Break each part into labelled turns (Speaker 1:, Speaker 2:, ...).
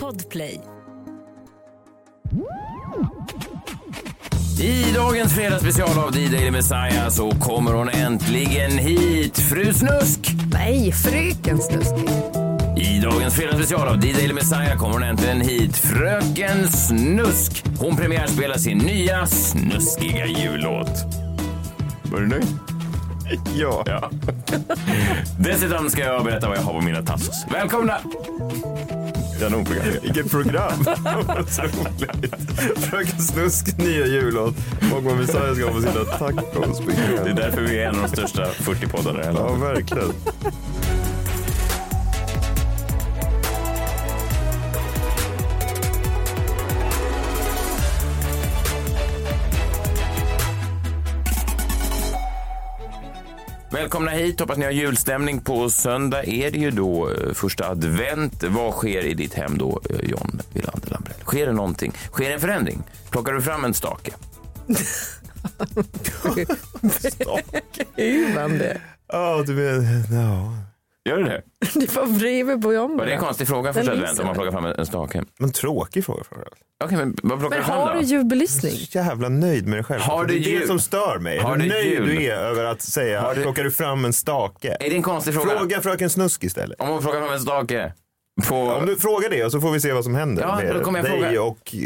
Speaker 1: Podplay.
Speaker 2: I dagens fredagsspecial av D-Daily Messiah så kommer hon äntligen hit, fru Snusk!
Speaker 3: Nej, fröken Snuskig.
Speaker 2: I dagens fredagsspecial av D-Daily Messiah kommer hon äntligen hit, fröken Snusk! Hon premiärspelar sin nya snuskiga jullåt. Var du nöjd?
Speaker 4: Ja.
Speaker 2: Ja. Dessutom ska jag berätta vad jag har på mina tassos. Välkomna! Kanonprogram.
Speaker 4: Vilket program! Så roligt. Fröken Snusk nya jullåt. Mogman Messiah ska ha på sina tacos. på
Speaker 2: Det är
Speaker 4: kvällen.
Speaker 2: därför vi är en av de största 40-poddarna i hela
Speaker 4: Ja, verkligen.
Speaker 2: Välkomna hit, hoppas ni har julstämning. På söndag är det ju då eh, första advent. Vad sker i ditt hem då, eh, John Wilander Lambrell? Sker det någonting? Sker en förändring? Plockar du fram en stake?
Speaker 3: Hur man det?
Speaker 4: Ja, du vet. Ja.
Speaker 2: Gör du det?
Speaker 3: Det var bredvid på jobbet.
Speaker 2: Var det en konstig fråga första
Speaker 3: Den
Speaker 2: advent om man
Speaker 3: missade.
Speaker 2: plockar fram en en stake? Okej,
Speaker 4: Men tråkig fråga från dig.
Speaker 2: men vad plockar
Speaker 3: Men
Speaker 2: du fram
Speaker 3: har
Speaker 2: då?
Speaker 3: du ljudbelysning?
Speaker 4: Så jävla nöjd med dig själv.
Speaker 2: Har du
Speaker 4: det är
Speaker 2: jul?
Speaker 4: det som stör mig.
Speaker 2: Har
Speaker 4: Hur
Speaker 2: du
Speaker 4: nöjd
Speaker 2: jul?
Speaker 4: du är över att säga,
Speaker 2: Har du-
Speaker 4: plockar du fram en stake?
Speaker 2: Är det en konstig fråga?
Speaker 4: Fråga Fröken Snusk istället.
Speaker 2: Om hon plockar fram en stake? På...
Speaker 4: Om du frågar det och så får vi se vad som händer
Speaker 2: Ja,
Speaker 4: med
Speaker 2: då kommer jag
Speaker 4: dig
Speaker 2: fråga.
Speaker 4: och... eh,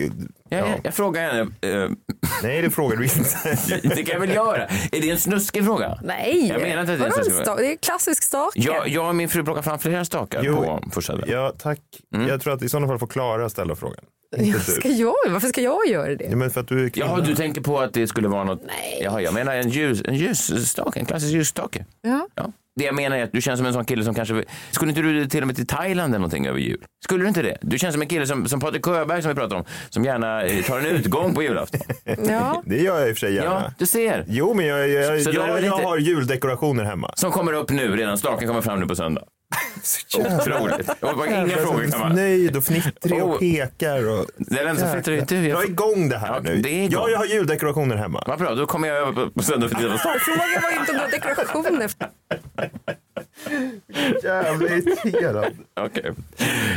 Speaker 2: ja, ja. Jag frågar henne. eh,
Speaker 4: Nej, det frågar du inte.
Speaker 2: det kan jag väl göra? Är det en snuskig fråga?
Speaker 3: Nej,
Speaker 2: Jag menar inte att det är
Speaker 3: Vadå
Speaker 2: en
Speaker 3: en
Speaker 2: snuskig
Speaker 3: sta-
Speaker 2: fråga.
Speaker 3: det är en klassisk stake.
Speaker 2: Jag, jag och min fru plockar fram flera stakar
Speaker 4: Jo.
Speaker 2: på första advent.
Speaker 4: Ja, tack.
Speaker 2: Mm.
Speaker 4: Jag tror att i sådana fall får Klara ställa frågan.
Speaker 3: Jag ska jag, varför ska jag göra det?
Speaker 4: Ja, men för att du är kvinna.
Speaker 2: Jaha, du tänker på att det skulle vara något... Nej. Jaha, jag menar en, ljus, en ljusstake, en klassisk ljusstake.
Speaker 3: Ja.
Speaker 2: Ja. Det jag menar är att du känns som en sån kille som kanske... Skulle inte du till och med till Thailand eller någonting över jul? Skulle du inte det? Du känns som en kille som, som Patrik Sjöberg som vi pratade om, som gärna eh, tar en utgång på julafton.
Speaker 3: Ja.
Speaker 4: Det gör jag i och för sig gärna.
Speaker 2: Ja, du ser.
Speaker 4: Jo, men jag, jag,
Speaker 2: Så
Speaker 4: jag,
Speaker 2: då är det
Speaker 4: jag,
Speaker 2: väl inte-
Speaker 4: har juldekorationer hemma.
Speaker 2: Som kommer upp nu redan, staken kommer fram nu på söndag. Otroligt. Och bara, inga frågor kan man...
Speaker 4: Nöjd och fnittrig
Speaker 2: Oh.
Speaker 4: och pekar. Och...
Speaker 2: Det är den som flyttar ut
Speaker 4: Dra
Speaker 2: du.
Speaker 4: igång det här
Speaker 2: Ja,
Speaker 4: nu.
Speaker 2: det är igång.
Speaker 4: Ja, jag har juldekorationer hemma.
Speaker 2: Vad bra, då kommer jag över på- på söndag för att titta på staken.
Speaker 3: Frågan var ju inte om du har dekorationer.
Speaker 4: Jävla irriterad.
Speaker 2: Okej.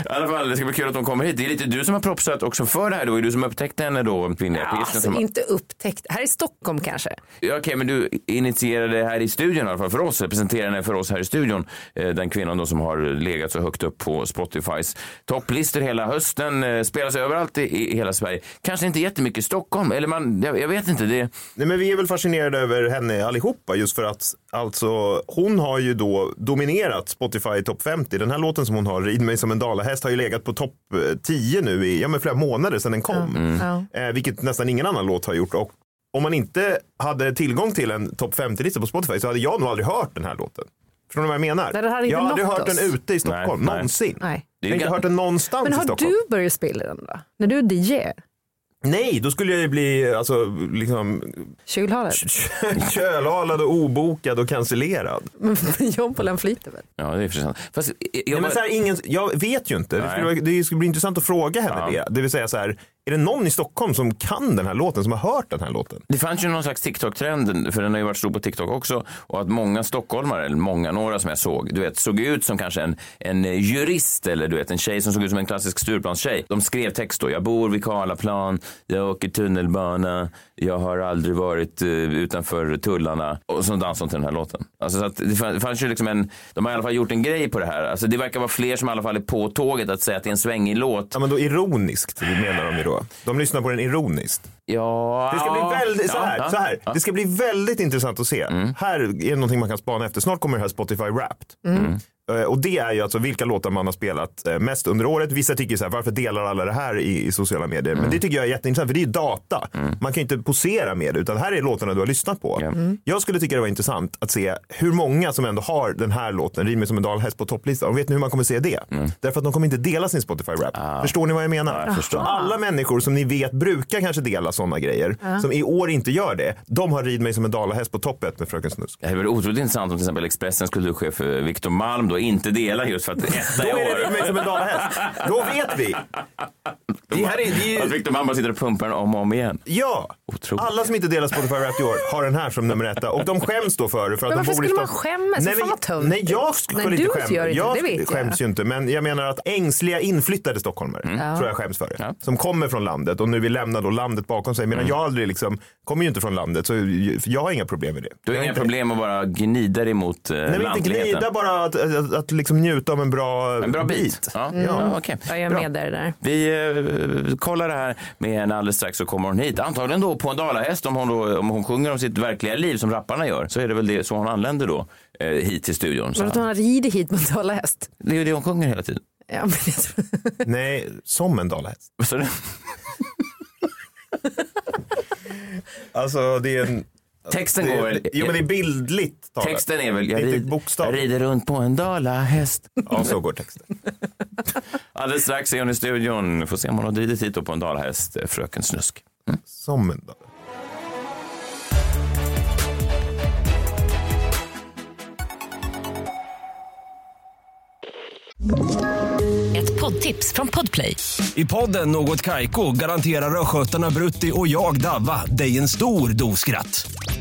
Speaker 2: I alla fall, det ska bli kul att hon kommer hit. Det är lite du som har propsat också för det här då. Är du som upptäckte henne då, kvinnliga ja,
Speaker 3: Alltså,
Speaker 2: som...
Speaker 3: inte upptäckt. Här i Stockholm kanske.
Speaker 2: Ja, Okej, men du initierade det här i studion i alla fall för oss, representerade henne för oss här i studion. Eh, Den kvinnan då som har legat så högt upp på Spotifys topplistor hela hösten, eh, spelas överallt i, i hela Sverige. Kanske inte jättemycket i Stockholm, eller man, jag, jag vet inte. Det,
Speaker 4: Nej, men vi är väl fascinerade över henne allihopa just för att alltså, hon har ju då dominerat Spotify topp 50. Den här låten som hon har, Rid mig som en dalahäst, har ju legat på topp eh, 10 nu i ja, men flera månader sedan den kom.
Speaker 3: Ja.
Speaker 4: Eh, vilket nästan ingen annan låt har gjort. Och om man inte hade tillgång till en topp 50-lista på Spotify så hade jag nog aldrig hört den här låten. Förstår ni vad jag menar?
Speaker 3: Nej, den hade inte
Speaker 4: jag har aldrig
Speaker 3: nått
Speaker 4: hört den
Speaker 3: oss.
Speaker 4: ute i Stockholm,
Speaker 2: Nej, nej.
Speaker 4: någonsin.
Speaker 3: Nej.
Speaker 2: det
Speaker 4: Jag
Speaker 2: är ju
Speaker 4: har inte
Speaker 2: gan-
Speaker 4: hört den någonstans
Speaker 3: Men
Speaker 4: i
Speaker 3: har
Speaker 4: Stockholm.
Speaker 3: du börjat spela den då? När du är DJ?
Speaker 4: Nej, då skulle jag ju bli alltså, liksom,
Speaker 3: Kylhalet?
Speaker 4: kölhalad och obokad och cancellerad.
Speaker 3: Men jobbolen flyter väl?
Speaker 2: Ja, det är för sant. Fast, eh, jag,
Speaker 4: Nej,
Speaker 2: bara-
Speaker 4: men så här, ingen, jag vet ju inte. Det
Speaker 2: Nej.
Speaker 4: skulle, vara- det skulle bli intressant att fråga henne det. Det vill säga så här, är det någon i Stockholm som kan den här låten, som har hört den här låten?
Speaker 2: Det fanns ju någon slags TikTok-trend, för den har ju varit stor på TikTok också, och att många stockholmare, eller många, några som jag såg, du vet, såg ut som kanske en, en jurist eller du vet, en tjej som såg ut som en klassisk Stureplanstjej. De skrev text då, jag bor vid Karlaplan, jag åker tunnelbana, jag har aldrig varit eh, utanför tullarna, och så dansade de till den här låten. Alltså så att det fann- det fanns ju liksom en, de har i alla fall gjort en grej på det här. Alltså det verkar vara fler som i alla fall är på tåget att säga att det är en svängig låt.
Speaker 4: Ja, men då ironiskt menar de ju då. De lyssnar på den ironiskt.
Speaker 2: Ja,
Speaker 4: Det ska bli väldigt, så
Speaker 2: ja,
Speaker 4: här,
Speaker 2: ja,
Speaker 4: så här.
Speaker 2: ja.
Speaker 4: Det ska bli väldigt intressant att se. Här är någonting man kan spana efter. Snart kommer det här Spotify Wrapped. Eh, Och det är ju alltså vilka låtar man har spelat eh, mest under året. Vissa tycker så här, varför delar alla det här i, i sociala medier?
Speaker 2: Mm.
Speaker 4: Men det tycker jag är jätteintressant, för det är ju data. Man kan ju inte posera med det, utan här är låtarna du har lyssnat på. Jag skulle tycka det var intressant att se hur många som ändå har den här låten, Rid mig som en dalhäst, på topplistan. Och vet ni hur man kommer se det? Därför att de kommer inte dela sin Spotify Wrapped. Förstår ni vad jag menar?
Speaker 2: Mm. Ah. jag förstår.
Speaker 4: Så alla människor som ni vet brukar kanske dela sådana grejer, som i år inte gör det, de har rid mig som en dalahäst på toppet med Fröken Snusk.
Speaker 2: Det vore otroligt intressant om till exempel Expressens kulturchef eh, Victor Malm då inte delar just för att etta i
Speaker 4: Då är det rid
Speaker 2: år.
Speaker 4: mig som en dalahäst. Då vet vi. Det här är- det är-
Speaker 2: Att Victor Mamma sitter och pumpar den om och om igen.
Speaker 4: Ja,
Speaker 2: Otroligt.
Speaker 4: alla som inte delar Spotify Wrapped i år har den här som nummer ett och de skäms då för det. För att
Speaker 3: Men
Speaker 4: de
Speaker 3: varför
Speaker 4: bor i
Speaker 3: skulle man
Speaker 4: stan-
Speaker 3: skämmas?
Speaker 4: Nej,
Speaker 3: Fan,
Speaker 4: men-
Speaker 3: vad töntigt.
Speaker 4: Nej, jag skulle
Speaker 3: Nej,
Speaker 4: inte
Speaker 3: du
Speaker 4: skämmas.
Speaker 3: gör inte
Speaker 4: jag
Speaker 3: det, vet jag.
Speaker 4: skäms ju inte, men jag menar att ängsliga inflyttade stockholmare
Speaker 3: Mm.
Speaker 4: tror jag skäms för det.
Speaker 2: Ja. Mm.
Speaker 4: Som kommer från landet och nu vill lämna då landet bakom sig. Medan jag aldrig liksom, kommer ju inte från landet så jag har inga problem med det.
Speaker 2: Du har
Speaker 4: Jag
Speaker 2: inga
Speaker 4: inte-
Speaker 2: problem att bara gnida dig mot eh,
Speaker 4: Nej, men inte
Speaker 2: lantligheten.
Speaker 4: glida, bara att, att, att, liksom njuta av en bra,
Speaker 2: En bra bit. Ja.
Speaker 4: Mm.
Speaker 2: Ja, okej.
Speaker 3: Ja, jag är
Speaker 2: Bra.
Speaker 3: med där. där.
Speaker 2: Vi eh, kollar det här med henne alldeles strax så kommer hon hit. Antagligen då på en dalahäst om hon, då, om hon sjunger om sitt verkliga liv som rapparna gör. Så är det väl det, så hon anländer då eh, hit till studion. Så
Speaker 3: Vadå att hon har ridit hit mot Dala häst?
Speaker 2: Det är ju det hon sjunger hela tiden.
Speaker 3: Ja, men jag tror-
Speaker 4: Nej, som en dalahäst.
Speaker 2: Så det,
Speaker 4: Alltså det är en...
Speaker 2: texten
Speaker 4: det
Speaker 2: går
Speaker 4: är,
Speaker 2: väl...
Speaker 4: jo men det är bildligt talat.
Speaker 2: Texten är väl, jag,
Speaker 4: Inte
Speaker 2: rid, jag
Speaker 4: bokstav.
Speaker 2: rider runt på en dalahäst.
Speaker 4: Ja, så går texten.
Speaker 2: Alldeles strax är hon i studion. Får se om hon har ridit hit då på en dalahäst, eh, fröken Snusk.
Speaker 4: Som en dalahäst.
Speaker 1: Ett poddtips från Podplay.
Speaker 5: I podden Något Kaiko garanterar östgötarna Brutti och jag, Davva, dig en stor dos skratt.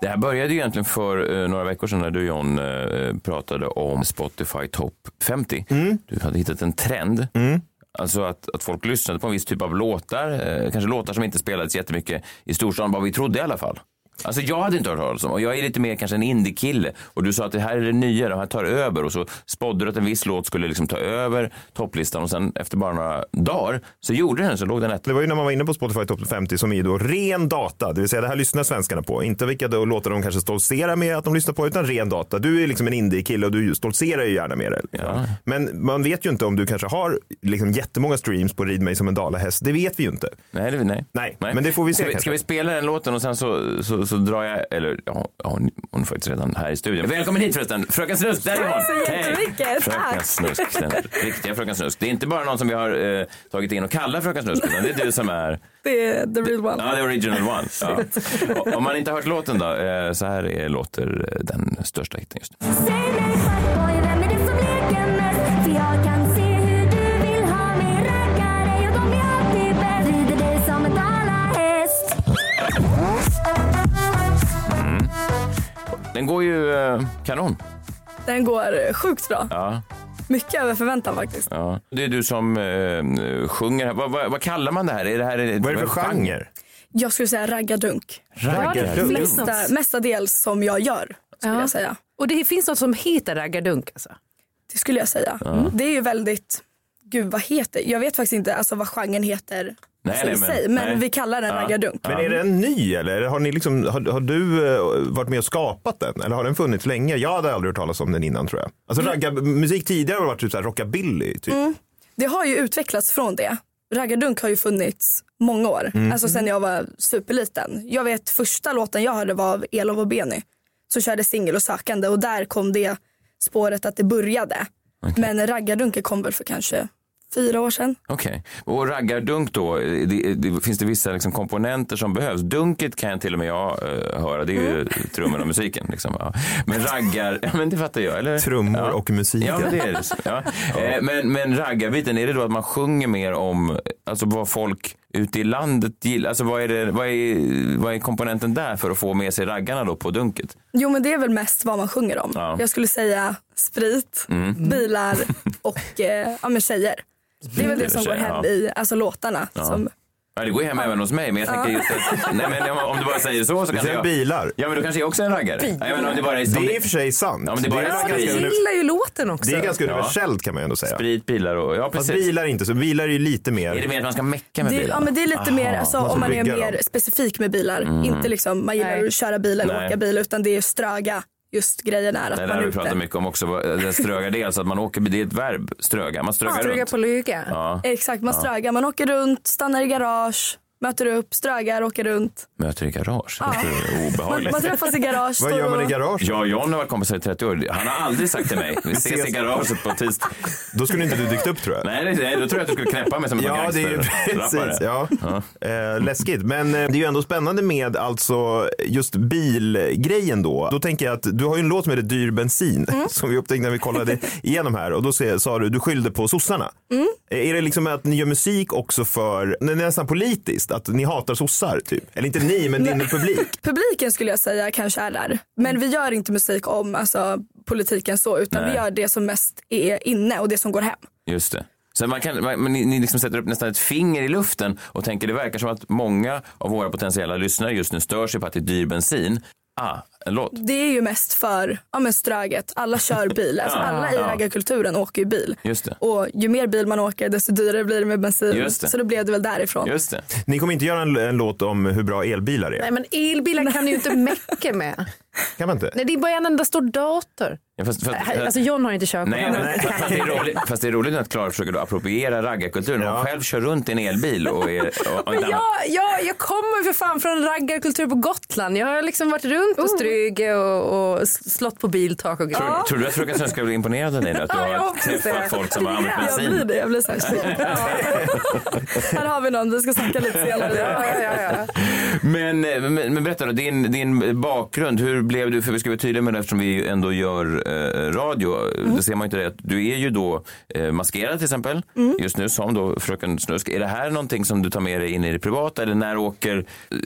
Speaker 2: Det här började ju egentligen för eh, några veckor sedan när du John eh, pratade om Spotify Top 50. Du hade hittat en trend. Alltså att, att folk lyssnade på en viss typ av låtar, eh, kanske låtar som inte spelades jättemycket i storstan, vad vi trodde i alla fall. Alltså jag hade inte hört talas om och jag är lite mer kanske en indie-kille och du sa att det här är det nya, det här tar över och så spådde du att en viss låt skulle liksom ta över topplistan och sen efter bara några dagar så gjorde den så låg den etta.
Speaker 4: Det var ju när man var inne på Spotify Top 50 som är då ren data, det vill säga det här lyssnar svenskarna på. Inte vilka då låtar de kanske stoltserar med att de lyssnar på, utan ren data. Du är liksom en indie-kille och du stoltserar ju gärna med det. liksom. Men man vet ju inte om du kanske har liksom jättemånga streams på Rid mig som en dalahäst. Det vet vi ju inte.
Speaker 2: Nej, det, nej.
Speaker 4: Nej, men det får vi se
Speaker 2: Ska vi, ska
Speaker 4: kanske.
Speaker 2: vi spela den låten och sen så, så, så drar jag, eller ja, ja, hon, hon är faktiskt redan här i studion. Välkommen hit förresten, Fröken Snusk, där är hon!
Speaker 6: Tack så jättemycket,
Speaker 2: Hej. Fröken
Speaker 6: tack.
Speaker 2: Snusk, den riktiga Fröken Snusk. Det är inte bara någon som vi har eh, tagit in och kallar Fröken Snusk, utan det är du som är
Speaker 6: Det är the real one.
Speaker 2: ja, the original one. Ja. Och, om man inte har hört låten då, eh, så här är, låter eh, den största hiten just nu.
Speaker 7: Säg mig fuckboy, vem är det som leker mest? För jag kan se hur du vill ha mig Raggar dig och de blir alltid bäst Rider dig som en dalahäst
Speaker 2: Den går ju eh, kanon.
Speaker 6: Den går sjukt bra.
Speaker 2: Ja,
Speaker 6: Mycket över förväntan faktiskt.
Speaker 2: ja. Det är du som eh, sjunger. här. Vad, vad, vad kallar man det här? Är det här
Speaker 4: Vad är det för genre?
Speaker 6: Jag skulle säga raggardunk.
Speaker 4: Raggardunk.
Speaker 3: finns
Speaker 6: Mesta,
Speaker 3: något.
Speaker 6: mestadels som jag gör, skulle
Speaker 3: Ja.
Speaker 6: jag säga.
Speaker 3: Och det finns något som heter raggardunk alltså.
Speaker 6: Det skulle jag säga. Det är ju väldigt, gud vad heter, jag vet faktiskt inte alltså, vad genren heter alltså,
Speaker 2: Nej,
Speaker 6: i
Speaker 2: nej, men-
Speaker 6: sig, men
Speaker 2: nej.
Speaker 6: vi kallar den raggardunk.
Speaker 4: Men är den ny eller har, ni liksom, har, har du eh, varit med och skapat den? Eller har den funnits länge? Jag hade aldrig hört talas om den innan tror jag. Alltså ragga, musik tidigare har varit typ så här rockabilly. Typ.
Speaker 2: Mm.
Speaker 6: Det har ju utvecklats från det. Raggardunk har ju funnits många år,
Speaker 2: Mm.
Speaker 6: alltså sen jag var superliten. Jag vet första låten jag hörde var av Elof och Benny som körde singel och sökande och där kom det spåret att det började. Men raggardunken kom väl för kanske fyra år sedan.
Speaker 2: Okej. Och raggardunk då, eh, det, det, finns det vissa liksom komponenter som behövs? Dunket kan jag till och med jag eh, höra, det är ju trummorna och musiken. Liksom, ja. Men raggar, ja, men det fattar jag, eller?
Speaker 4: Trummor
Speaker 2: ja.
Speaker 4: och musik.
Speaker 2: Ja, men det är det. så. Ja. Eh, Men, men raggarbiten, är det då att man sjunger mer om alltså, vad folk ute i landet gillar? Alltså, vad, är det, vad, är, vad är komponenten där för att få med sig raggarna då på dunket?
Speaker 6: Jo men det är väl mest vad man sjunger om.
Speaker 2: Ja. Mm.
Speaker 6: Jag skulle säga sprit, bilar och eh, ja, men tjejer. Det är väl det som går
Speaker 2: Tjejer,
Speaker 6: hem
Speaker 2: ja.
Speaker 6: i alltså, låtarna. Som,
Speaker 2: Ja, det går ju hem även hos mig, men jag tänker just att, nej, men om- om du bara säger så så
Speaker 4: Det
Speaker 2: kanske
Speaker 4: är
Speaker 2: jag...
Speaker 4: bilar.
Speaker 2: Ja, men då kanske jag också är en raggare. Nej, men om det bara är, om
Speaker 4: Det är i och för sig sant.
Speaker 2: Ja, men det är bara
Speaker 4: det,
Speaker 2: sprit.
Speaker 4: är
Speaker 3: Jag
Speaker 4: ganska, uni-
Speaker 3: gillar ju låten också.
Speaker 4: det är ganska
Speaker 2: Ja.
Speaker 4: universellt kan man ju ändå säga.
Speaker 2: Sprit, bilar och... Ja,
Speaker 4: Fast
Speaker 2: precis.
Speaker 4: bilar är inte så. Bilar är ju lite mer.
Speaker 2: Är det mer att man ska mecka med
Speaker 6: Det,
Speaker 2: bilarna?
Speaker 6: ja, men det är lite mer alltså,
Speaker 4: man ska
Speaker 6: om man är
Speaker 4: bygga
Speaker 6: mer
Speaker 4: dem.
Speaker 6: specifik med bilar. Inte liksom man gillar
Speaker 3: Nej.
Speaker 6: att köra bil eller
Speaker 2: Nej.
Speaker 6: åka bil utan det är ströga. Just grejen är att
Speaker 2: det där har
Speaker 6: man är
Speaker 2: vi
Speaker 6: ute.
Speaker 2: pratat mycket om också. vad- Den strögar det, är alltså att man åker, det är ett verb, ströga. Man strögar
Speaker 3: Strugga
Speaker 2: runt.
Speaker 3: på lyga.
Speaker 6: Exakt, man strögar, man åker runt, stannar i garage, Möter upp, strögar, åker runt.
Speaker 2: Möter i garage. Det är
Speaker 6: Man,
Speaker 2: obehagligt.
Speaker 6: man träffas i garage.
Speaker 4: Vad
Speaker 6: står
Speaker 4: gör man i
Speaker 6: och-
Speaker 4: garaget?
Speaker 2: Jag och John har varit kompisar i 30 år. Han har aldrig sagt till mig, vi ses i garaget på tisdag.
Speaker 4: Då skulle inte du dykt upp tror jag.
Speaker 2: Nej, det- nej, då tror jag att du skulle knäppa mig som en
Speaker 4: Ja, det är ju
Speaker 2: gangsterrappare.
Speaker 4: precis. Ja. Eh, läskigt. Men eh, det är ju ändå spännande med alltså just bilgrejen då. Då tänker jag att du har ju en låt som heter Dyr bensin
Speaker 3: Mm.
Speaker 4: som vi upptäckte när vi kollade igenom här och då se- sa du, du skyllde på sossarna.
Speaker 3: Mm.
Speaker 4: Eh, Är det liksom att ni gör musik också för, det är nästan politiskt, att ni hatar sossar typ? Eller inte ni, men din publik.
Speaker 6: Publiken skulle jag säga kanske är där. Men vi gör inte musik om alltså, politiken så utan
Speaker 2: Nej.
Speaker 6: vi gör det som mest är inne och det som går hem.
Speaker 2: Just det. Så man kan, man, men ni, ni liksom sätter upp nästan ett finger i luften och tänker det verkar som att många av våra potentiella lyssnare just nu stör sig på att det är dyr bensin. Ah, en låt.
Speaker 6: Det är ju mest för ja, men ströget. Alla kör bil. Alltså,
Speaker 2: Ja,
Speaker 6: alla i
Speaker 2: ja.
Speaker 6: raggarkulturen åker ju bil.
Speaker 2: Just det.
Speaker 6: Och ju mer bil man åker desto dyrare blir det med bensin.
Speaker 2: Just det.
Speaker 6: Så då blev det väl därifrån.
Speaker 2: Just det.
Speaker 4: Ni kommer inte göra en, en låt om hur bra elbilar är?
Speaker 3: Nej men elbilar kan du ju inte mecka med.
Speaker 4: Kan man inte?
Speaker 3: Nej, det är bara en enda stor dator.
Speaker 2: Ja, fast, fast,
Speaker 3: Här- Alltså John har inte körkort.
Speaker 2: Nej,
Speaker 3: Han har-
Speaker 2: men, fast, det är roligt, fast det är roligt att Klara försöker då appropriera raggarkulturen. Hon
Speaker 4: Ja.
Speaker 2: själv kör runt i en elbil och är... Och, och en
Speaker 3: Men
Speaker 2: annan-
Speaker 3: jag, jag, jag kommer för fan från raggarkultur på Gotland. Jag har liksom varit runt på Stryge och, och slått på biltak och grejer.
Speaker 2: Tror, tror du att fröken Svenska blir imponerad av dig nu? Att du
Speaker 3: Ja, jag
Speaker 2: har
Speaker 3: hoppas det.
Speaker 2: träffat folk som har använt
Speaker 6: Jag blir
Speaker 2: bensin?
Speaker 6: det. Jag blir så här, shit. Här har vi någon. Vi ska snacka lite senare.
Speaker 2: Men, eh, men, men berätta då, din, din bakgrund, hur blev du, för vi ska vara tydliga med det eftersom vi ändå gör eh, radio, det ser man ju inte det, att du är ju då eh, maskerad till exempel just nu som då Fröken Snusk. Är det här någonting som du tar med dig in i det privata eller när åker,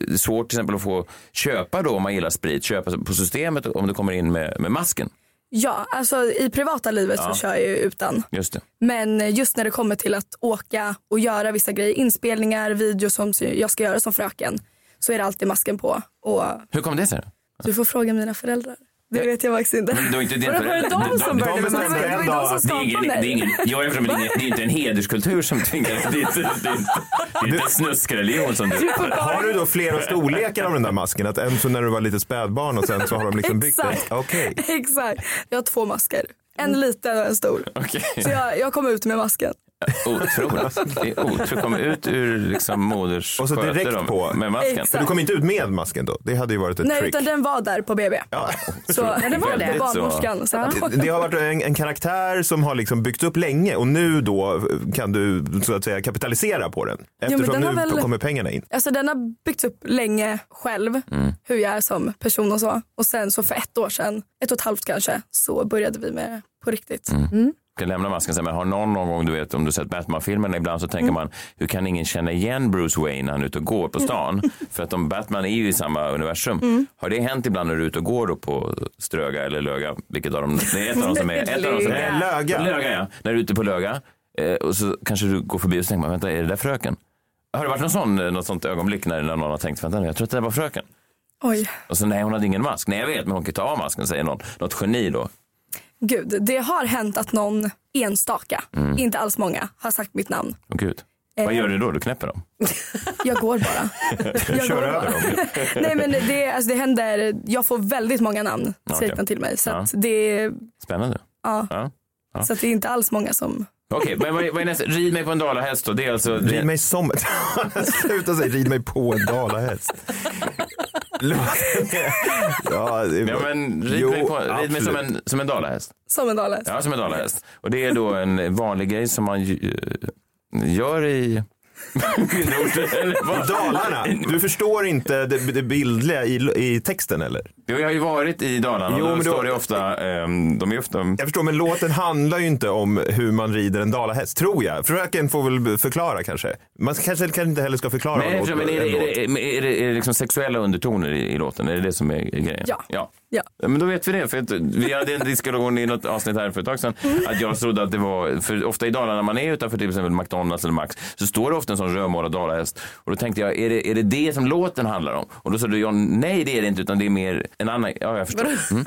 Speaker 2: eh, svårt till exempel att få köpa då om man gillar sprit, köpa på systemet om du kommer in med, med masken?
Speaker 6: Ja, alltså i privata livet så kör jag ju utan.
Speaker 2: Just det.
Speaker 6: Men just när det kommer till att åka och göra vissa grejer, inspelningar, videos som jag ska göra som fröken, så är det alltid masken på. Och
Speaker 2: Hur kom det sig? då?
Speaker 6: du får fråga mina föräldrar. Det vet jag faktiskt inte.
Speaker 2: Det var inte
Speaker 3: Var det- var det
Speaker 2: för-
Speaker 3: de
Speaker 2: de-
Speaker 3: som
Speaker 2: de-
Speaker 3: började med
Speaker 6: Det var, det var ju de som
Speaker 2: Det är ingen,
Speaker 6: skapade
Speaker 2: det är
Speaker 6: mig.
Speaker 2: ingen, jag är från, det är ingen- det är inte en hederskultur som tvingar det. är inte- Det är inte- det är inte en snuskreligion som du...
Speaker 4: Har du då flera storlekar av den där masken? Att en från när du var litet spädbarn och sen så har de liksom byggt den?
Speaker 6: Exakt.
Speaker 4: Okej.
Speaker 6: Exakt. Jag har två masker. En liten och en stor.
Speaker 2: Mm. Okej.
Speaker 6: Så jag, jag kom ut med masken.
Speaker 2: Otroligt. Det är otroligt. Kom ut ur liksom moders
Speaker 4: Och så
Speaker 2: sköte
Speaker 4: direkt
Speaker 2: då,
Speaker 4: på.
Speaker 2: med masken.
Speaker 4: För du kom inte ut med masken då? Det hade ju varit ett
Speaker 6: Nej,
Speaker 4: trick.
Speaker 6: utan den var där på BB.
Speaker 4: Ja.
Speaker 6: Så den var
Speaker 2: Väldigt
Speaker 6: där.
Speaker 2: så.
Speaker 6: Barnmorskan satte på.
Speaker 4: Det har varit en, en karaktär som har liksom byggts upp länge och nu då kan du så att säga kapitalisera på den.
Speaker 6: men
Speaker 4: Eftersom
Speaker 6: den har
Speaker 4: nu
Speaker 6: väl-
Speaker 4: kommer pengarna in.
Speaker 6: Alltså den har byggts upp länge själv,
Speaker 2: Mm.
Speaker 6: hur jag är som person och så. Och sen så för ett år sedan, ett och ett halvt kanske, så började vi med det på riktigt.
Speaker 2: Mm. Jag lämnar masken sen, men har någon, någon gång, du vet om du sett Batman-filmerna, ibland så tänker man hur kan ingen känna igen Bruce Wayne när han är ute och går på stan? För att de, Batman är ju i samma universum. Har det hänt ibland när du är ute och går då på Ströga eller Löga? Vilket av dem? Det är ett av dem som är... Ett av dem som är
Speaker 4: Nej,
Speaker 2: På
Speaker 4: Löga.
Speaker 2: Löga, ja. När du är ute på Löga eh, och så kanske du går förbi och så tänker man, vänta, är det där fröken? Har det varit någon sån, eh, något sånt ögonblick när när någon har tänkt, vänta nu, jag tror att det där var fröken.
Speaker 6: Oj,
Speaker 2: Och så Alltså, nej, hon hade ingen mask. Nej, jag vet, men hon kan ta av masken, säger någon. Något geni då.
Speaker 6: gud. Det har hänt att någon enstaka, inte alls många, har sagt mitt namn. Eh,
Speaker 2: Åh gud. Mm. Vad gör du då? Du knäpper dem?
Speaker 6: Jag går bara. Jag
Speaker 4: Kör
Speaker 6: går
Speaker 4: över
Speaker 6: bara. Nej men det, alltså det händer, jag får väldigt många namn skrivna till mig. Så, att det,
Speaker 2: Spännande.
Speaker 6: ja,
Speaker 2: Ja.
Speaker 6: så att det är inte alls många som...
Speaker 2: Okej, men vad är, vad är nästa? Rid mig på en dalahäst då. Det är alltså...
Speaker 4: Rid mig som... Sluta säga rid mig på en dalahäst. Låt- ja, det är
Speaker 2: Ja,
Speaker 4: bra.
Speaker 2: men rid
Speaker 4: Jo,
Speaker 2: mig, på, rid mig
Speaker 4: absolut.
Speaker 2: som, en, som en dalahäst.
Speaker 6: Som en dalahäst.
Speaker 2: Ja, som en dalahäst. Och det är då en vanlig grej som man ju, eh, gör i... Eller vad?
Speaker 4: Dalarna. Du förstår inte det, det bildliga i, i texten eller?
Speaker 2: Jag har ju varit i Dalarna
Speaker 4: Jo,
Speaker 2: och då
Speaker 4: men då-
Speaker 2: står det ofta, ehm, de är ofta...
Speaker 4: Jag förstår, men låten handlar ju inte om hur man rider en dalahäst, tror jag. Fröken får väl b- förklara kanske. Man kanske kanske inte heller ska förklara
Speaker 2: Nej,
Speaker 4: en
Speaker 2: jag tror,
Speaker 4: låt.
Speaker 2: men är,
Speaker 4: en
Speaker 2: det- är,
Speaker 4: låt.
Speaker 2: det- men är, det- är det liksom sexuella undertoner i, i låten? Är det det som är grejen?
Speaker 6: Ja.
Speaker 2: ja.
Speaker 6: Ja.
Speaker 2: Men då vet vi det. För att vi hade en diskussion i något avsnitt här för ett tag sedan. Att jag trodde att det var, för ofta i Dalarna när man är utanför till exempel McDonalds eller Max så står det ofta en sån rödmålad dalahäst. Och då tänkte jag, är det, är det det som låten handlar om? Och då sa du John, nej det är det inte utan det är mer en annan. Ja, jag förstår. Mm.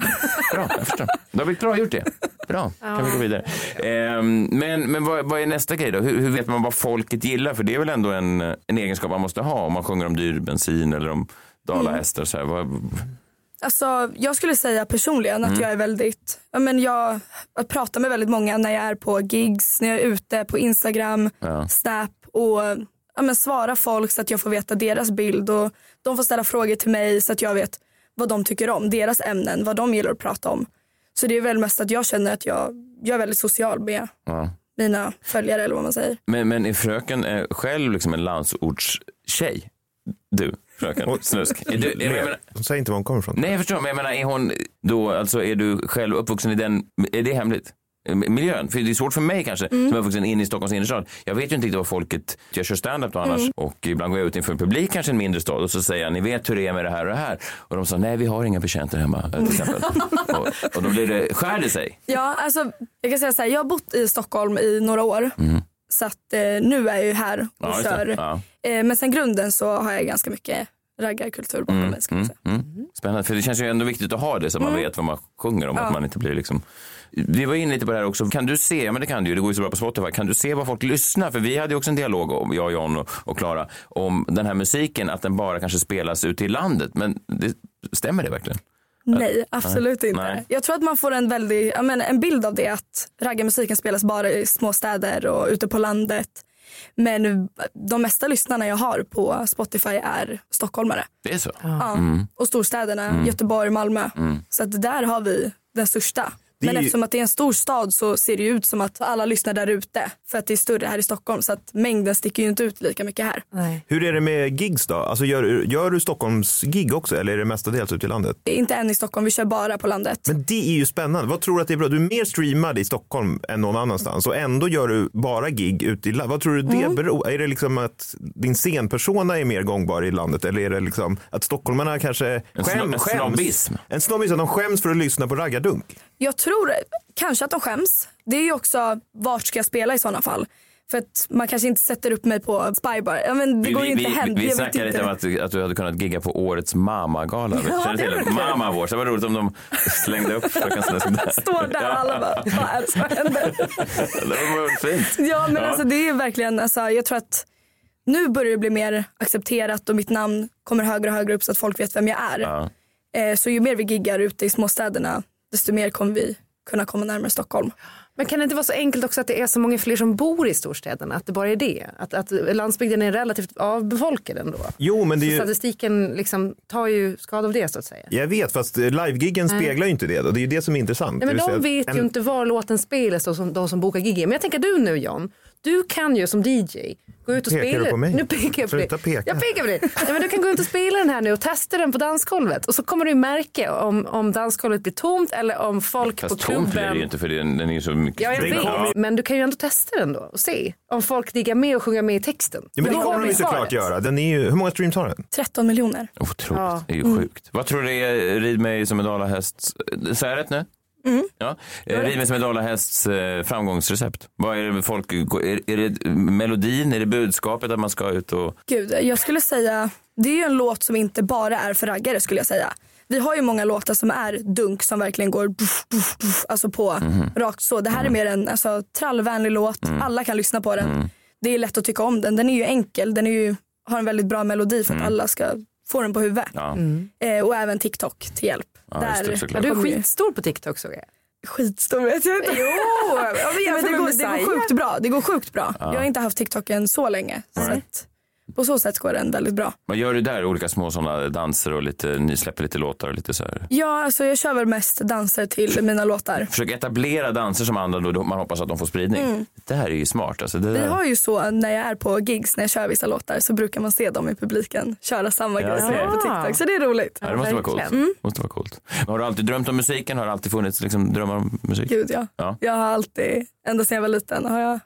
Speaker 2: Bra, jag förstår. Då har vi bra gjort det. Bra, kan vi gå vidare. Ehm, men men vad, vad är nästa grej då? Hur, hur vet man vad folket gillar? För det är väl ändå en, en egenskap man måste ha om man sjunger om dyr bensin eller om dalahästar. Så här. Vad,
Speaker 6: Alltså, jag skulle säga personligen att jag är väldigt, ja, men jag, jag pratar med väldigt många när jag är på gigs, när jag är ute på Instagram, Snap och ja, men svara folk så att jag får veta deras bild och de får ställa frågor till mig så att jag vet vad de tycker om, deras ämnen, vad de gillar att prata om. Så det är väl mest att jag känner att jag, jag är väldigt social med
Speaker 2: Ja.
Speaker 6: mina följare eller vad man säger.
Speaker 2: Men, men är fröken eh, själv liksom en landsortstjej? Du, fröken Snusk. Är du, är, jag menar,
Speaker 4: Hon säger inte var hon kommer ifrån.
Speaker 2: nej, jag förstår, men jag menar, är hon då, alltså är du själv uppvuxen i den, är det hemligt? Eh, Miljön, för det är svårt för mig kanske som är uppvuxen inne i Stockholms innerstad. Jag vet ju inte riktigt vad folket, jag kör standup då annars och ibland går jag ut inför en publik kanske i en mindre stad och så säger jag ni vet hur det är med det här och det här och de sa nej vi har inga bekänter hemma eh, till exempel. och, och då blir det, skär det sig?
Speaker 6: Ja, alltså, jag kan säga så här, jag har bott i Stockholm i några år. Så att eh, nu är jag ju här och
Speaker 2: just det.
Speaker 6: kör.
Speaker 2: Ja.
Speaker 6: Eh, men sen grunden så har jag ganska mycket raggarkultur bakom mig. Ska man säga. Mm.
Speaker 2: Mm. Spännande, för det känns ju ändå viktigt att ha det så man vet vad man sjunger om. Att man inte blir liksom... Vi var inne lite på det här också. Kan du se, men det kan du ju, det går ju så bra på Spotify. Kan du se vad folk lyssnar? För vi hade ju också en dialog, om, jag, John och- och Klara, om den här musiken, att den bara kanske spelas ute i landet. Men det, stämmer det verkligen?
Speaker 6: Nej, absolut inte.
Speaker 2: Nej.
Speaker 6: Jag tror att man får en, väldig, jag menar, en bild av det att raggarmusiken spelas bara i små städer och ute på landet. Men de mesta lyssnarna jag har på Spotify är stockholmare.
Speaker 2: Det är så?
Speaker 6: Ja. Och storstäderna, Göteborg, Malmö. Så att där har vi den största.
Speaker 4: Det är
Speaker 6: Men
Speaker 4: ju-
Speaker 6: eftersom att det är en stor stad så ser det ju ut som att alla lyssnar där ute. För att det är större här i Stockholm så att mängden sticker ju inte ut lika mycket här.
Speaker 3: Nej.
Speaker 4: Hur är det med gigs då? Alltså gör, gör du Stockholms gig också eller är det mestadels ute i landet?
Speaker 6: Inte än i Stockholm, vi kör bara på landet.
Speaker 4: Men det är ju spännande. Vad tror du att det är bra? Du är mer streamad i Stockholm än någon annanstans och ändå gör du bara gig ute i landet. Vad tror du det beror Är det liksom att din scenpersona är mer gångbar i landet eller är det liksom att stockholmarna kanske
Speaker 2: En
Speaker 4: skäm,
Speaker 2: sno- en
Speaker 4: skäms?
Speaker 2: snobbism.
Speaker 4: En snobbism. att De skäms för att lyssna på raggardunk.
Speaker 6: Jag tror kanske att de skäms. Det är ju också vart ska jag spela i sådana fall. För att man kanske inte sätter upp mig på Spybar. Ja, men det
Speaker 2: Vi,
Speaker 6: går ju
Speaker 2: vi,
Speaker 6: inte
Speaker 2: vi,
Speaker 6: hem.
Speaker 2: vi
Speaker 6: Jag vet
Speaker 2: snackade
Speaker 6: inte.
Speaker 2: lite om att, att du hade kunnat gigga på årets mamma-gala.
Speaker 6: Ja,
Speaker 2: Känner du
Speaker 6: det
Speaker 2: till
Speaker 6: var
Speaker 2: det?
Speaker 6: kul.
Speaker 2: Mamma Awards. Det var roligt om de slängde upp Fröken Snusk där.
Speaker 6: Står där och alla bara, vad är det som händer?
Speaker 2: Det var fint.
Speaker 6: Ja men
Speaker 2: Ja.
Speaker 6: alltså det är verkligen, alltså, jag tror att nu börjar det bli mer accepterat och mitt namn kommer högre och högre upp så att folk vet vem jag är.
Speaker 2: Ja.
Speaker 6: Eh, så ju mer vi giggar ute i småstäderna desto mer kommer vi kunna komma närmare Stockholm.
Speaker 8: Men kan det inte vara så enkelt också att det är så många fler som bor i storstäderna? Att det bara är det? Att, att landsbygden är relativt avbefolkad ändå?
Speaker 4: Jo, men det är
Speaker 8: Så
Speaker 4: ju...
Speaker 8: statistiken liksom tar ju skada av det så att säga.
Speaker 4: Jag vet, fast eh, livegiggen speglar ju inte det. Då. Det är ju det som är intressant.
Speaker 8: Nej, men
Speaker 4: Det vill
Speaker 8: de
Speaker 4: säga
Speaker 8: vet
Speaker 4: att
Speaker 8: ju
Speaker 4: en-
Speaker 8: inte var låten spelas, de som, de som bokar gig. är. Men jag tänker du nu John, du kan ju som DJ gå ut och
Speaker 4: Pekar du
Speaker 8: spela.
Speaker 4: på mig?
Speaker 8: Nu pekar jag på dig.
Speaker 4: Sluta peka.
Speaker 8: Jag pekar på dig. Nej, men du kan gå ut och spela den här nu och testa den på dansgolvet. Och så kommer du ju märka om, om dansgolvet blir tomt eller om folk
Speaker 2: Fast
Speaker 8: på
Speaker 2: tomt blir det
Speaker 8: klubben...
Speaker 2: ju inte för den, den är ju så mycket
Speaker 8: Ja, jag
Speaker 4: Det
Speaker 8: vet.
Speaker 4: kommer-
Speaker 8: Men du kan ju ändå testa den då och se om folk diggar med och sjunger med i texten.
Speaker 4: Ja, men
Speaker 8: Då har
Speaker 4: det kommer de
Speaker 8: vi
Speaker 4: ju såklart
Speaker 8: svaret.
Speaker 4: göra. Den är ju... Hur många streams har den?
Speaker 6: 13 miljoner.
Speaker 2: Otroligt, det är
Speaker 6: Mm.
Speaker 2: ju sjukt. Vad tror du det är eh, Rid mig som en dalahäst? Säger jag rätt nu?
Speaker 6: Mm.
Speaker 2: Ja. Eh, Rid mig som en dalahästs eh, framgångsrecept. Vad är det folk, är, är det melodin, är det budskapet att man ska ut och...
Speaker 6: Gud, jag skulle säga, det är ju en låt som inte bara är för raggare skulle jag säga. Vi har ju många låtar som är dunk som verkligen går buff, buff, buff, alltså på
Speaker 2: Mhm.
Speaker 6: rakt så. Det
Speaker 2: Mm.
Speaker 6: här är mer en alltså, trallvänlig låt, alla kan lyssna på den. Det är lätt att tycka om den, den är ju enkel, den är ju, har en väldigt bra melodi för att alla ska få den på huvudet.
Speaker 2: Mm. Ja.
Speaker 6: Eh, och även TikTok till hjälp.
Speaker 2: just det,
Speaker 6: Där
Speaker 2: såklart.
Speaker 8: Ja, du är
Speaker 6: kommer ju-
Speaker 8: skitstor på TikTok såg jag.
Speaker 6: skitstor vet jag inte. Jo, men det,
Speaker 3: med
Speaker 6: går, det
Speaker 3: Messiah.
Speaker 6: går sjukt bra. Det går sjukt bra. Jag har inte haft TikTok än så länge. Så att, på så sätt går den väldigt bra.
Speaker 2: Vad gör du där? Olika små sådana danser och lite, ni släpper lite låtar och lite så här.
Speaker 6: Ja, alltså jag kör väl mest danser till mina låtar.
Speaker 2: Försök etablera danser som andra då man hoppas att de får spridning. Det här är ju smart alltså. Det
Speaker 6: Vi
Speaker 2: där.
Speaker 6: Mm. har ju så när jag är på gigs, när jag kör vissa låtar så brukar man se dem i publiken köra samma
Speaker 2: Ja,
Speaker 6: grej som jag gör på
Speaker 8: okej.
Speaker 6: TikTok. Så det är roligt.
Speaker 2: Ja, det måste vara, coolt.
Speaker 8: verkligen.
Speaker 6: Mm.
Speaker 2: måste vara coolt. Har du alltid drömt om musiken? Har det alltid funnits liksom, drömmar om musik?
Speaker 6: Gud ja.
Speaker 2: Ja.
Speaker 6: Jag har alltid, ända sedan jag var liten har jag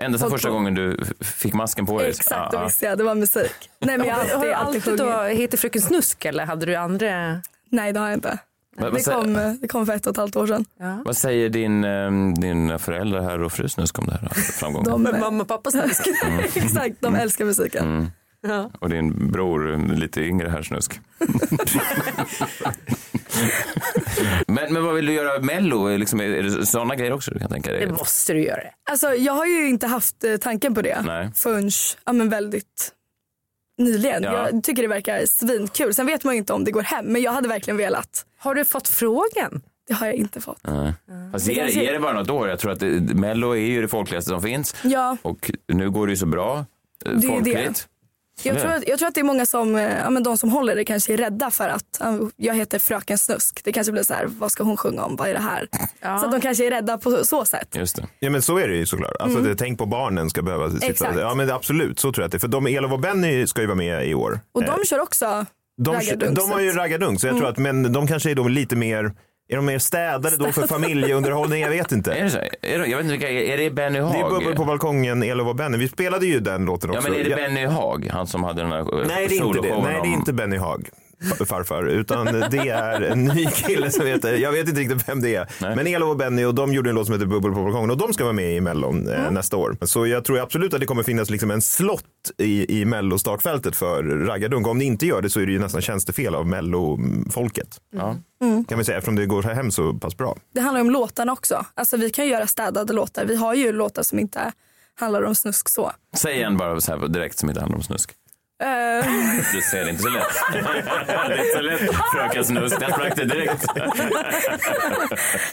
Speaker 2: Ända sedan
Speaker 6: Håll
Speaker 2: första
Speaker 6: på.
Speaker 2: gången du f- fick masken på dig?
Speaker 6: exakt,
Speaker 2: Ja,
Speaker 6: då
Speaker 2: ja.
Speaker 6: visste jag det var musik. Nej men jag har
Speaker 8: har
Speaker 6: alltid,
Speaker 8: du
Speaker 6: alltid
Speaker 8: alltid då
Speaker 6: sjungit.
Speaker 8: heter Fröken Snusk eller hade du andra?
Speaker 6: Nej det har jag inte.
Speaker 2: Vad- vad
Speaker 6: Det
Speaker 2: säger-
Speaker 6: kom, det kom för ett och ett halvt år sedan.
Speaker 2: Vad säger din, ehm, dina föräldrar här och fru Snusk om det här framgången?
Speaker 6: De,
Speaker 8: Mamma och pappa Snusk.
Speaker 6: exakt, de
Speaker 2: Mm.
Speaker 6: älskar musiken.
Speaker 2: Och din bror, eh, lite yngre här Snusk. men, men vad vill du göra? Mello? Liksom, är är det sådana grejer också du kan tänka dig?
Speaker 8: Det måste du göra.
Speaker 6: Alltså, jag har ju inte haft eh, tanken på det
Speaker 2: Nej.
Speaker 6: förrän ja, men väldigt nyligen.
Speaker 2: Ja.
Speaker 6: Jag tycker det verkar svinkul. Sen vet man ju inte om det går hem, men jag hade verkligen velat.
Speaker 8: Har du fått frågan?
Speaker 6: Det har jag inte fått.
Speaker 2: Nej. Fast ge, det- eh, ge det bara något år. Jag tror att det, Mello är ju det folkligaste som finns.
Speaker 6: Ja,
Speaker 2: Och nu går det ju så bra. eh,
Speaker 6: det.
Speaker 2: folkligt.
Speaker 6: Jag
Speaker 2: Ja.
Speaker 6: tror, att, jag tror att det är många som, eh, ja, men de som håller det kanske är rädda för att eh, jag heter Fröken Snusk. Det kanske blir så här, vad ska hon sjunga om? Vad är det här? Så att de kanske är rädda på så sätt.
Speaker 2: Just det.
Speaker 4: Ja men så är det ju såklart.
Speaker 8: Mm.
Speaker 4: Alltså, det, tänk på barnen ska behöva sitta.
Speaker 6: Exakt.
Speaker 4: Ja men absolut, så tror jag att det är. För de, Elof och Benny ska ju vara med i år.
Speaker 6: Och
Speaker 4: Eh,
Speaker 6: de kör också
Speaker 4: de,
Speaker 6: raggardunk,
Speaker 4: de har
Speaker 6: så
Speaker 4: ju
Speaker 6: att-
Speaker 4: raggardunk, så jag
Speaker 8: Mm.
Speaker 4: tror att, men de kanske är då lite mer, är de mer städade då för familjeunderhållning? Jag vet inte.
Speaker 2: Är det så? Är det, jag vet inte vilka, är det Benny Haag?
Speaker 4: Det är Bubbel på balkongen, Elof och Benny. Vi spelade ju den låten
Speaker 2: Ja
Speaker 4: också.
Speaker 2: men är det
Speaker 4: Ja.
Speaker 2: Benny Haag, han som hade den här eh,
Speaker 4: Nej det är inte det.
Speaker 2: soloshowen
Speaker 4: Nej det är
Speaker 2: om-
Speaker 4: inte Benny Haag farfar, utan det är en ny kille som heter, jag vet inte riktigt vem det är.
Speaker 2: Nej.
Speaker 4: Men Elof och Benny och de gjorde en låt som heter Bubbel på balkongen och de ska vara med i Mellon
Speaker 8: Mm.
Speaker 4: eh, nästa år. Så jag tror absolut att det kommer finnas liksom en slott i, i Mello-startfältet för raggardunk. Om ni inte gör det så är det ju nästan tjänstefel av Mello-folket.
Speaker 2: Ja.
Speaker 8: Mm.
Speaker 4: Kan vi säga eftersom det går så hem så pass bra.
Speaker 6: Det handlar om låtarna också. Alltså vi kan ju göra städade låtar. Vi har ju låtar som inte handlar om snusk så.
Speaker 2: Säg en bara så här direkt som inte handlar om snusk.
Speaker 6: Eh,
Speaker 2: Du ser det inte så lätt. det är inte så lätt. Fröken Snusk, den sprack det direkt.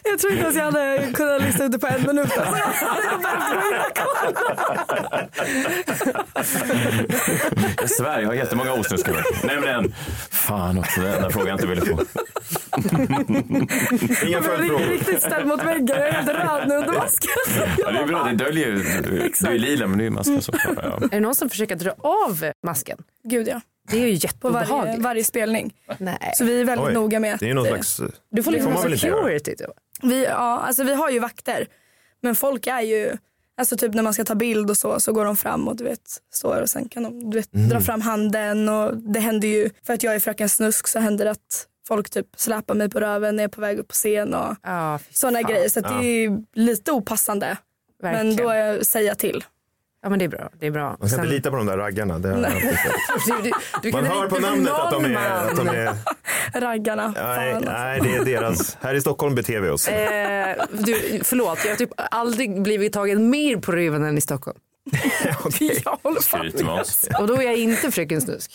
Speaker 6: jag tror inte ens jag hade kunnat lista ut det på en minut. Alltså.
Speaker 2: Jag svär, jag har jättemånga osnuskare. Nämligen. Fan också, den där frågan jag inte ville få.
Speaker 4: Inga
Speaker 6: Jag är
Speaker 4: följdfrågor.
Speaker 6: riktigt ställd mot väggen. Jag är helt röd nu under masken.
Speaker 2: Ja, det är bra, det döljer ju. Du är lila men det är ju masken såklart. Ja.
Speaker 8: Är det någon som försöker dra av masken?
Speaker 6: Gud ja.
Speaker 8: Det är ju
Speaker 6: På varje,
Speaker 8: jätteobehagligt.
Speaker 6: varje spelning.
Speaker 8: Nej.
Speaker 6: Så vi är väldigt
Speaker 4: Oj,
Speaker 6: noga med att...
Speaker 4: Det
Speaker 6: eh,
Speaker 4: är ju någon slags...
Speaker 8: Du får
Speaker 4: får
Speaker 8: liksom
Speaker 4: man väl
Speaker 8: ha
Speaker 4: inte göra.
Speaker 8: security då.
Speaker 6: Vi, ja, alltså vi har ju vakter. Men folk är ju... Alltså typ när man ska ta bild och så, så går de fram och du vet, står och sen kan de du vet, dra fram handen och det händer ju, för att jag är fröken Snusk så händer det att folk typ släpar mig på röven när jag är på väg upp på scen och
Speaker 8: Ja, fy
Speaker 6: sådana
Speaker 8: fan,
Speaker 6: grejer. Så att det är ju lite opassande.
Speaker 8: Verkligen.
Speaker 6: Men då är säger jag till.
Speaker 8: Ja men det är bra. Det är bra.
Speaker 4: Man ska inte
Speaker 8: Sen-
Speaker 4: lita på de där raggarna. Det har jag alltid sett.
Speaker 8: Du, du, du
Speaker 4: Man
Speaker 8: kan
Speaker 4: hör
Speaker 8: inte
Speaker 4: på
Speaker 8: bli
Speaker 4: namnet att de
Speaker 8: någon
Speaker 4: är... Att de
Speaker 8: man.
Speaker 4: är
Speaker 6: Raggarna.
Speaker 4: nej,
Speaker 6: fan. alltså.
Speaker 4: nej, det är deras. Här i Stockholm beter vi oss.
Speaker 8: Eh, du, förlåt, jag har typ aldrig blivit tagen mer på röven än i Stockholm.
Speaker 4: Okej.
Speaker 8: Jag håller fan.
Speaker 2: Skryter med oss.
Speaker 8: Och då är jag inte fröken Snusk.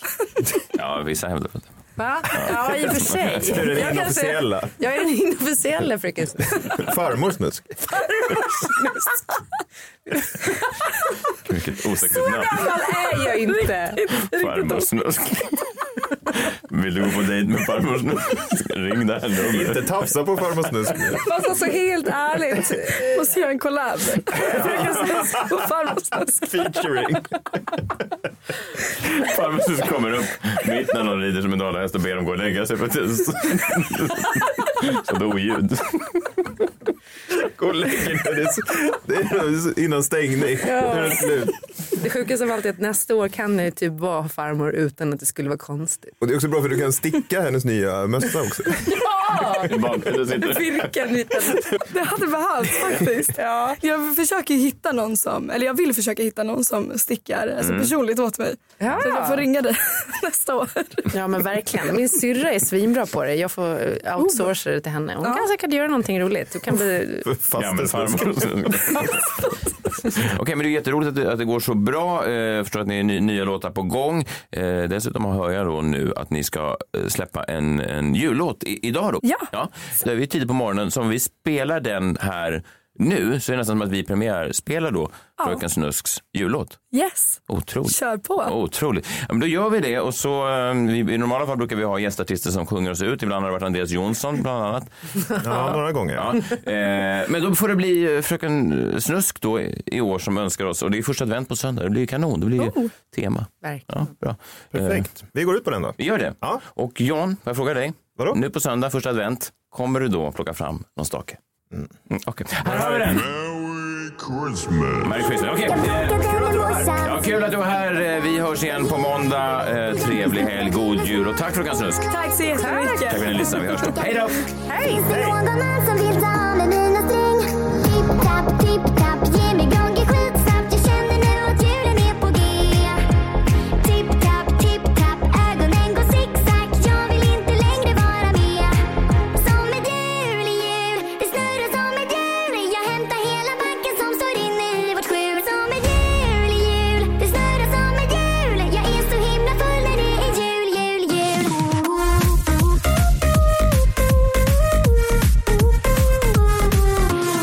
Speaker 2: Ja, vissa hävdar det.
Speaker 8: Va? Ja, i och för sig.
Speaker 4: Hur är det
Speaker 8: Jag, kanske-
Speaker 4: inofficiella?
Speaker 8: jag är den inofficiella fröken Snusk.
Speaker 4: Farmor snusk.
Speaker 2: Vilket osexigt namn.
Speaker 8: Gammal är jag inte.
Speaker 2: Farmor Snusk. Vill du gå på dejt med farmor Snusk? Ring det här
Speaker 4: Inte
Speaker 2: numret.
Speaker 4: tafsa på farmor snusk.
Speaker 8: Fast alltså helt ärligt.
Speaker 6: Måste göra en collab. Fröken Snusk och farmor Snusk.
Speaker 4: Featuring.
Speaker 2: Farmor Snusk kommer upp mitt när någon rider som en dalahäst och ber dem gå och lägga sig för att det är så- sådant oljud.
Speaker 4: Gå och lägg dig. Det är så- Det är innan stängning. Då är det slut.
Speaker 8: Det sjukaste av allt är att nästa år kan jag typ vara farmor utan att det skulle vara konstigt.
Speaker 4: Och det är också bra för du kan sticka hennes nya mössa också.
Speaker 2: I bakgrunden sitter
Speaker 6: Vilken liten... Det hade behövts faktiskt. Ja. Jag försöker ju hitta någon som, eller jag vill försöka hitta någon som stickar alltså
Speaker 2: Mm.
Speaker 6: personligt åt mig. Så jag får ringa dig nästa år.
Speaker 8: Ja men verkligen. Min syrra är svinbra på det. Jag får eh,
Speaker 6: Oh.
Speaker 8: outsourca det till henne. Hon kan säkert göra någonting roligt. Du kan bli...
Speaker 4: Fast
Speaker 2: Gammal
Speaker 4: det snusk.
Speaker 2: farmor Snusk. Okej, men det är jätteroligt att det, att det går så bra. Eh, Jag förstår att ni har ny, nya låtar på gång. Eh, dessutom hör jag då nu att ni ska eh, släppa en, en jullåt i, idag då.
Speaker 6: Ja.
Speaker 2: Det är ju tidigt på morgonen. Så om vi spelar den här nu så är det nästan som att vi premiärspelar då Fröken Snusks jullåt.
Speaker 6: Yes,
Speaker 2: Otroligt.
Speaker 6: kör på.
Speaker 2: Otroligt. Ja, men då gör vi det. Och så, eh, vi- I normala fall brukar vi ha gästartister som sjunger oss ut. Ibland har det varit Andreas Jonsson bland annat.
Speaker 4: Ja, några gånger.
Speaker 2: Ja.
Speaker 4: Ja.
Speaker 2: Eh, men då får det bli eh, Fröken Snusk då i i år som önskar oss. Och det är första advent på söndag. Det blir ju kanon. Det blir ju tema.
Speaker 8: Verkligen.
Speaker 2: Ja, bra. Eh,
Speaker 4: Perfekt. Vi går ut på den då.
Speaker 2: vi gör det.
Speaker 4: Ja.
Speaker 2: Och Jan, får jag fråga dig?
Speaker 4: Vadå?
Speaker 2: Nu på söndag, första advent, kommer du då plocka fram någon stake? Mm. Okej, här har vi den. Merry Christmas. Okej. Ja, kul att du var här. Eh, Vi hörs igen på måndag. Eh, trevlig helg, god jul och tack Fröken Snusk. Tack
Speaker 6: Tack så
Speaker 2: för att
Speaker 6: jättemycket.
Speaker 2: ni lyssnade. Vi hörs då. Hej då!
Speaker 7: Finns det någon man som vill ta med mina string? Tipp-tapp, tipp-tapp, ge mig gånger skitsnabbt Jag känner nu att julen är på G Tipp-tapp, tipp-tapp, ögonen går zigzag Jag vill inte längre vara med Som ett hjul i jul, det snurrar som ett djur Jag hämtar hela backen som står inne i vårt skjul Som ett hjul i jul, det snurrar som ett hjul Jag är så himla full när det är jul, jul, jul Ooh, ooh, ooh, ooh, ooh, ooh, ooh, ooh, ooh.